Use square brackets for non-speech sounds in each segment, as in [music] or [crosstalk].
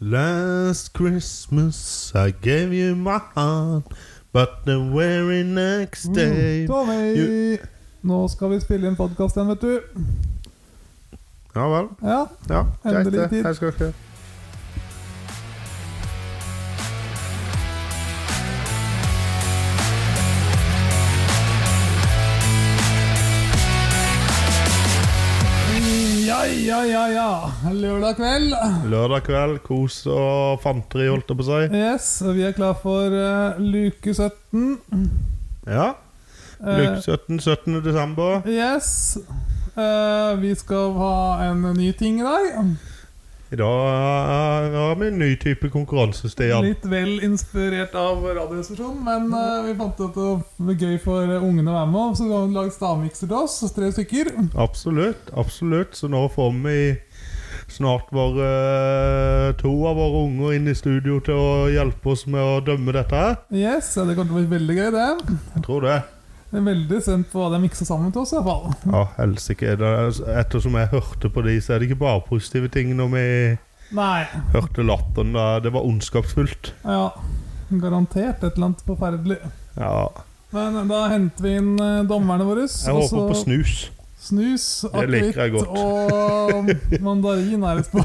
Last Christmas I gave you my heart, but the very next Mm. day Tommy! Nå skal vi spille inn podkast igjen, vet du. Ja vel. Ja, Ja, greit, Endelig det. tid. Jeg skal ikke ja, ja, ja. ja Lørdag kveld. Lørdag kveld, kos og fanteri, holdt jeg på å si. Yes, vi er klar for eh, luke 17. Ja. Eh, Luke 17. 17. desember. yes. Eh, vi skal ha en ny ting i dag. I dag eh, har vi en ny type konkurranse, Stian. Litt vel inspirert av Radioresepsjonen, men eh, vi fant ut at det var gøy for eh, ungene å være med. Så vi har vi lagd stavmikser til oss, tre stykker. Absolutt. Absolutt. Så nå får vi snart våre eh, to av våre unger inn i studio til å hjelpe oss med å dømme dette her. Yes, ja, Det kommer til å bli veldig gøy, det. Jeg tror det. Jeg er veldig spent på hva de mikser sammen til oss. i hvert fall Ja, helsike. er det- Ettersom jeg hørte på de, så er det ikke bare positive ting når vi Nei. hørte latteren. da. Det var ondskapsfullt. Ja. Garantert et eller annet forferdelig. Ja. Men da henter vi inn eh, dommerne våre. Jeg og håper på så snus. snus, Det liker jeg akevitt [laughs] og mandarin er det på.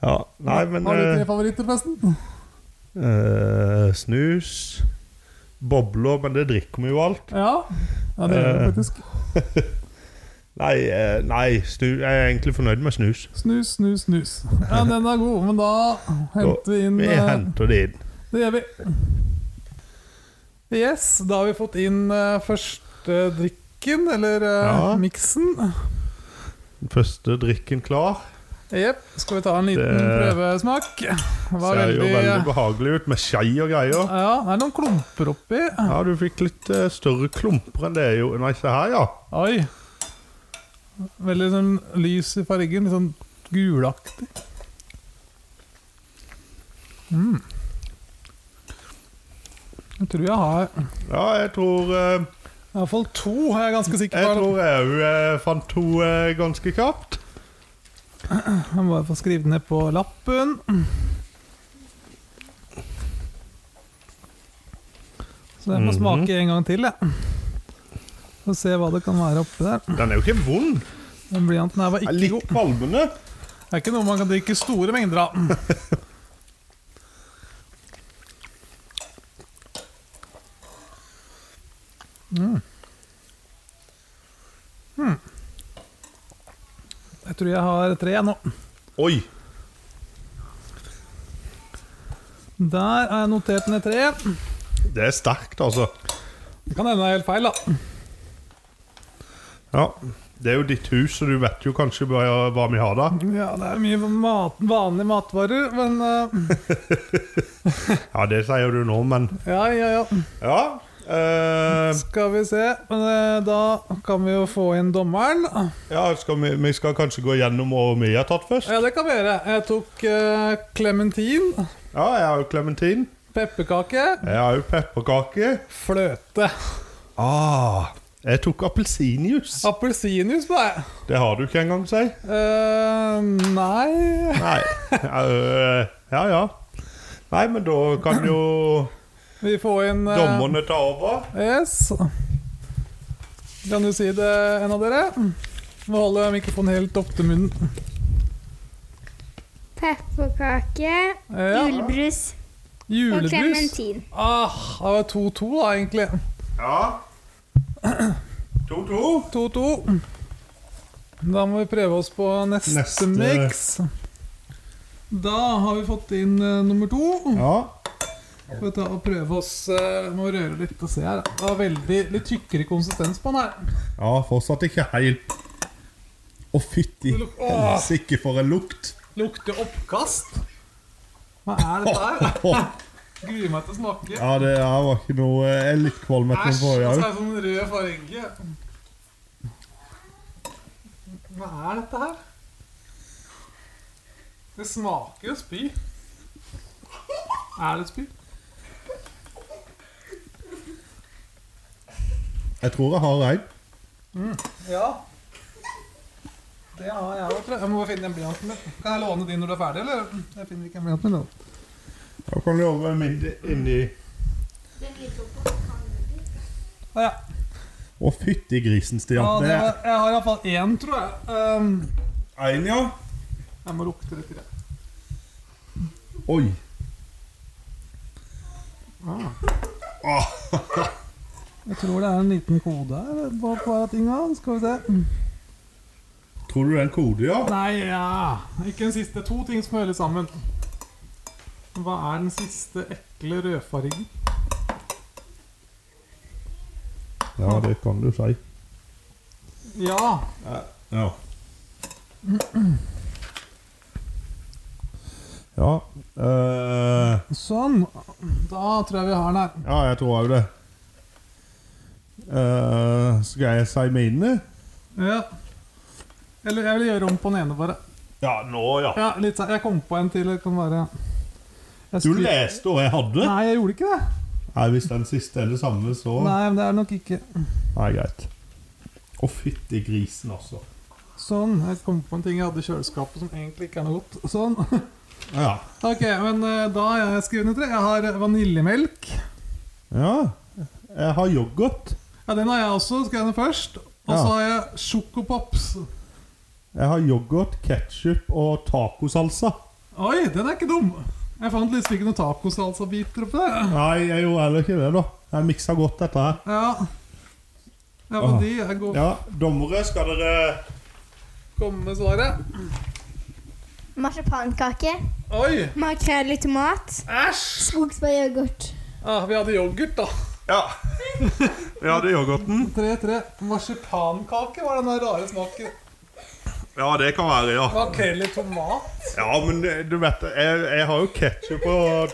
Ja, Nei, men Har du eh, tre favoritter, forresten? eh, Snus, bobler Men det drikker vi jo alt. Ja. ja, det gjør du Eh. faktisk. Nei, eh, nei snu, jeg er egentlig fornøyd med snus. Snus, snus, snus. Ja, Den er god, men da henter vi inn Vi eh, henter det inn. Det gjør vi. Yes, da har vi fått inn eh, første drikken, eller eh, Ja. miksen. Den Første drikken klar. Jepp. Skal vi ta en liten Det- prøvesmak? Det var Ser jo veldig, eh, veldig behagelig ut, med skei og greier. Ja, det er noen klumper oppi. Ja, du fikk litt eh, større klumper enn det er jo Nei, se her, ja. Oi. Veldig sånn lys i fargen. Litt sånn gulaktig. Mm. Jeg tror jeg har I Ja, jeg tror eh, hvert fall to, er jeg ganske sikker Jeg på. tror jeg òg eh, fant to eh, ganske kjapt. Jeg må bare få skrive det ned på lappen. Så jeg får Mhm. smake en gang til, jeg. Få se hva det kan være oppi der. Den er jo ikke vond. Den blyanten her var Den er ikke god. Litt kvalmende. Det er ikke noe man kan drikke store mengder av. Mm. Mm. Jeg tror jeg har tre nå. Oi. Der har jeg notert ned tre. Det er sterkt, altså. Det kan hende det er helt feil, da. Ja. Det er jo ditt hus, så du vet jo kanskje hva hva vi har der. Ja, Det er mye mat, vanlige matvarer, men eh, Ja, det sier du nå, men Ja, ja, ja. Ja. eh, Skal vi se. Men eh, da kan vi jo få inn dommeren. ja, skal vi, vi skal kanskje gå gjennom hva vi har tatt først. Ja, det kan vi gjøre. Jeg tok eh, klementin, Ja, jeg har jo klementin. pepperkake, Jeg har jo pepperkake. fløte. Ah, jeg tok appelsinjuice. Appelsinjuice på deg? Det har du ikke engang, si. eh, nei [laughs] Nei. Eh, Ja, ja. Nei, men da kan jo Vi får inn eh, Dommerne tar over. Yes. Kan du si det, en av dere? Må holde mikrofonen helt opp til munnen. Pepperkake, Ja. julebrus og Julebrus. klementin. Ah, det var 2-2, da, egentlig. Ja. 2-2. 2-2. Da må vi prøve oss på neste, Neste. mix. Da har vi fått inn eh, nummer to. Ja. Får vi ta og prøve oss eh, Må røre litt og se her. Det var veldig litt tykkere konsistens på den her. ja, fortsatt ikke helt Å, fytti Åh. helsike, for en lukt! Lukter oppkast. Hva er dette [laughs] her? Åh, Gruer meg til å smake. Ja, det her var ikke noe eh, Jeg er litt kvalm etter den Æsj. Og så forrige er òg. det sånn rød farge. Hva er dette her? Det smaker jo spy. Er det spy? altså. Jeg tror jeg har en. Ja. Det har jeg òg. Jeg må bare finne den blyanten min. Kan jeg låne din når du er ferdig, eller? Jeg finner ikke den blyanten min. nå. Da kan du jobbe med min inni Ah, ja. Å, fytti grisen, Ja, Stian. det Det var, jeg har iallfall én, tror jeg. Ehm, er én, ja. jeg må lukte litt. i det. Oi. Jeg tror det er en liten kode her på hver av tinga. Skal vi se. Tror du det er en kode, ja? Nei, ja. Ikke den siste. To ting som hører sammen. Hva er den siste ekle rødfargen? Ja, det kan du si. Ja. Ja. Ja eh, Sånn. Da tror jeg vi har den her. Ja, jeg tror òg det. Eh, skal jeg si mine? Ja. Eller jeg vil gjøre om på den ene, bare. Ja, nå, Ja, litt sånn. Jeg kom på en til. Det kan være jeg Du skulle- leste hva jeg hadde? Nei, jeg gjorde ikke det. Nei, Hvis den siste er det samme, så Nei, Nei, men det er nok ikke greit. Å, fytti grisen, altså. Sånn. Jeg kom på en ting jeg hadde i kjøleskapet som egentlig ikke er noe godt. Sånn. [laughs] Ja. Ok, men eh, da har jeg skrevet ned tre. Jeg har vaniljemelk. ja. Jeg har yoghurt. Ja, den har jeg også. Skrev jeg ned først. Og så Ja. har jeg sjokopops. Jeg har yoghurt, ketsjup og tacosalsa. Oi, den er ikke dum. Jeg fant liksom ikke noen tacosalsabiter oppi der. Nei, jeg gjorde heller ikke det, da. Jeg miksa godt dette her. Ja. Ja, men Ah. de er gode. Ja, dommere, skal dere Kom med svaret. Marsipankake. Oi! Makrell i tomat. Æsj! Skogsbæryoghurt. Ah, vi hadde yoghurt, da. Ja. [laughs] Vi hadde yoghurten. Tre-tre. Marsipankake var den der rare smaken. Ja, det kan være, ja. Makrell i tomat. Ja, men det- du vet, jeg, jeg har jo ketsjup og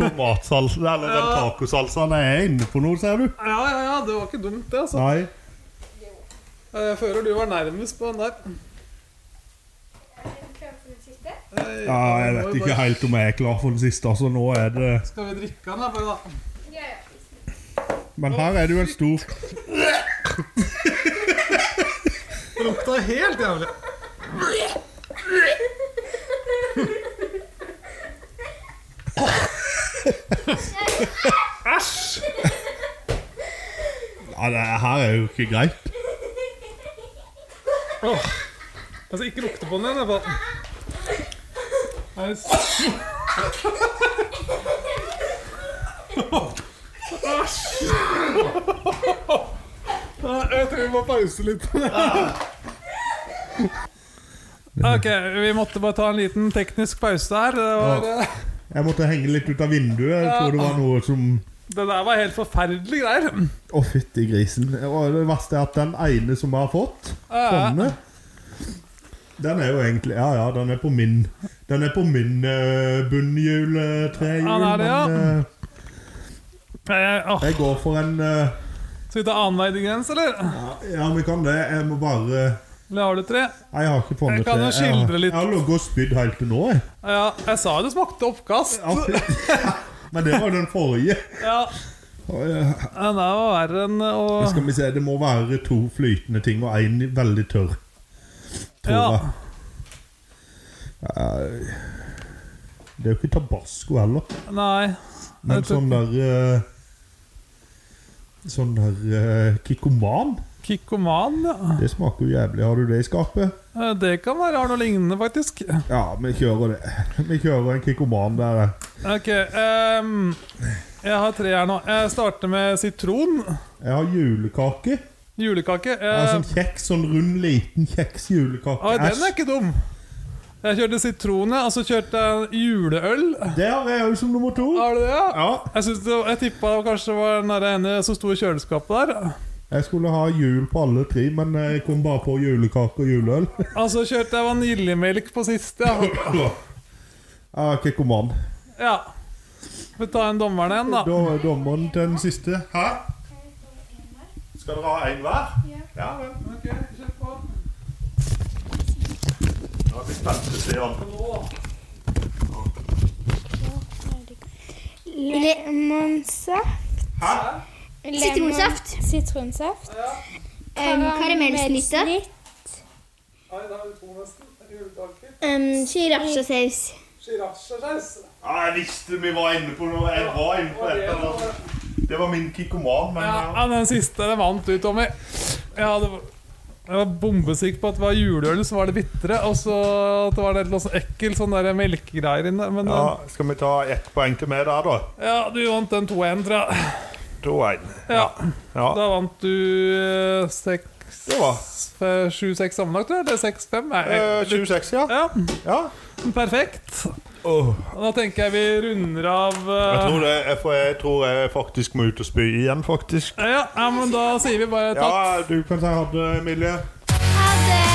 tomatsalsa, eller den tacosalsaen jeg er inne på nå, ser du. Ja, ja, ja. Det var ikke dumt, det, altså. Nei. Jeg føler du var nærmest på den der. Eh, Ja, jeg må vet jo ikke bare- helt om jeg er klar for den siste, altså nå er det Skal vi drikke den, da? Bare da? Men her er det jo en stor Det lukta helt jævlig. Æsj! Ja, det her er jo ikke greit. Åh. Altså, ikke lukte på den igjen, i hvert fall. Nei, s- [laughs] Æsj! Nei, Jeg tror vi må pause litt. Ok, vi måtte bare ta en liten teknisk pause her. Det, var, Jeg måtte henge litt ut av vinduet. Jeg tror det var noe som det der var helt forferdelige greier. Å, fytti grisen. Og det verste er at den ene som jeg har fått, Ja, ja. Fonne, den er jo egentlig Ja, ja, den er på min Den er på min uh, bunnhjul, eh, trehjul, Ja, den er det, ja. men eh, Eh, åh, jeg går for en eh, Skal vi ta annenvei til grense, eller? Ja, vi kan det. Jeg må bare Eller har du tre? Nei, Jeg har ikke Jeg funnet kan det. Jeg jo har- skildre litt. Jeg har ligget og spydd helt til nå, jeg. Ja, jeg sa jo det smakte oppkast. Ja, fy- [laughs] Men det var jo den forrige. Ja, Å, ja. Den der var verre enn å Skal vi se, Det må være to flytende ting og én veldig tørr. Tror Ja. jeg. Nei. Det er jo ikke tabasco heller, Nei. men Jeg tror sånn der eh, Sånn der eh, Kikkoman. Kikkoman, ja. Det smaker jo jævlig. Har du det i skapet? Eh, Det kan være har noe lignende, faktisk. Ja, vi kjører det. [laughs] Vi kjører en Kikkoman der. eh. Ok. ehm, jeg har tre her nå. Jeg starter med sitron. Jeg har julekake. Jeg Julekake. har sånn Uh, kjeks, sånn rund, liten kjeks julekake. oi, den er Æsj. ikke dum. Jeg kjørte sitron, ja. Og så kjørte jeg juleøl. Det har jeg jo som nummer to. Har du det, ja? Ja. Jeg, synes det, jeg tippa det kanskje var den der ene som sto i kjøleskapet der. Jeg skulle ha jul på alle tre, men jeg kom bare på julekake og juleøl. [laughs] Og så kjørte jeg vaniljemelk på siste. Ja. Jeg er ikke kommand. ja. Vi tar en dommeren igjen, da. Da er dommeren til den siste. Hæ? Skal dere ha én hver? Ja. Ja vel. Ok, kjør på. Da er vi spente, Stian. Nå. Lemonsaft. Hæ? Lemon- Sitronsaft. Sitronsaft. Em, karamellsnitte. Karamellsnitt. Nei, da er det to nesten. Julekaker. Um, Sriracha-saus. Sriracha-saus. Ja, jeg visste vi var inne på noe. Jeg var inne på et eller annet. Det var min kikoman, men Ja, ja. ja, den siste det vant du, Tommy. Ja, det var, jeg var bombesikker på at det var juleøl, så var det bitre. Og så at det var det noe sånn ekkel sånn der melkegreier inne. Men ja. ja, Skal vi ta ett poeng til meg der, da? ja du vant den 2-1, tror jeg. To en. Ja, Ja. Da vant du eh, Det var. 7-6 sammenlagt, tror jeg. Eller 6-5. Nei, Eh, 26, ja. Ja, ja. perfekt. Åh. Og Da tenker jeg vi runder av Jeg eh, tror, det, jeg, får- jeg tror jeg faktisk må ut og spy igjen, faktisk. ja, ja, men da sier vi bare takk. Ja, du kan si ha det, Emilie. Ha det!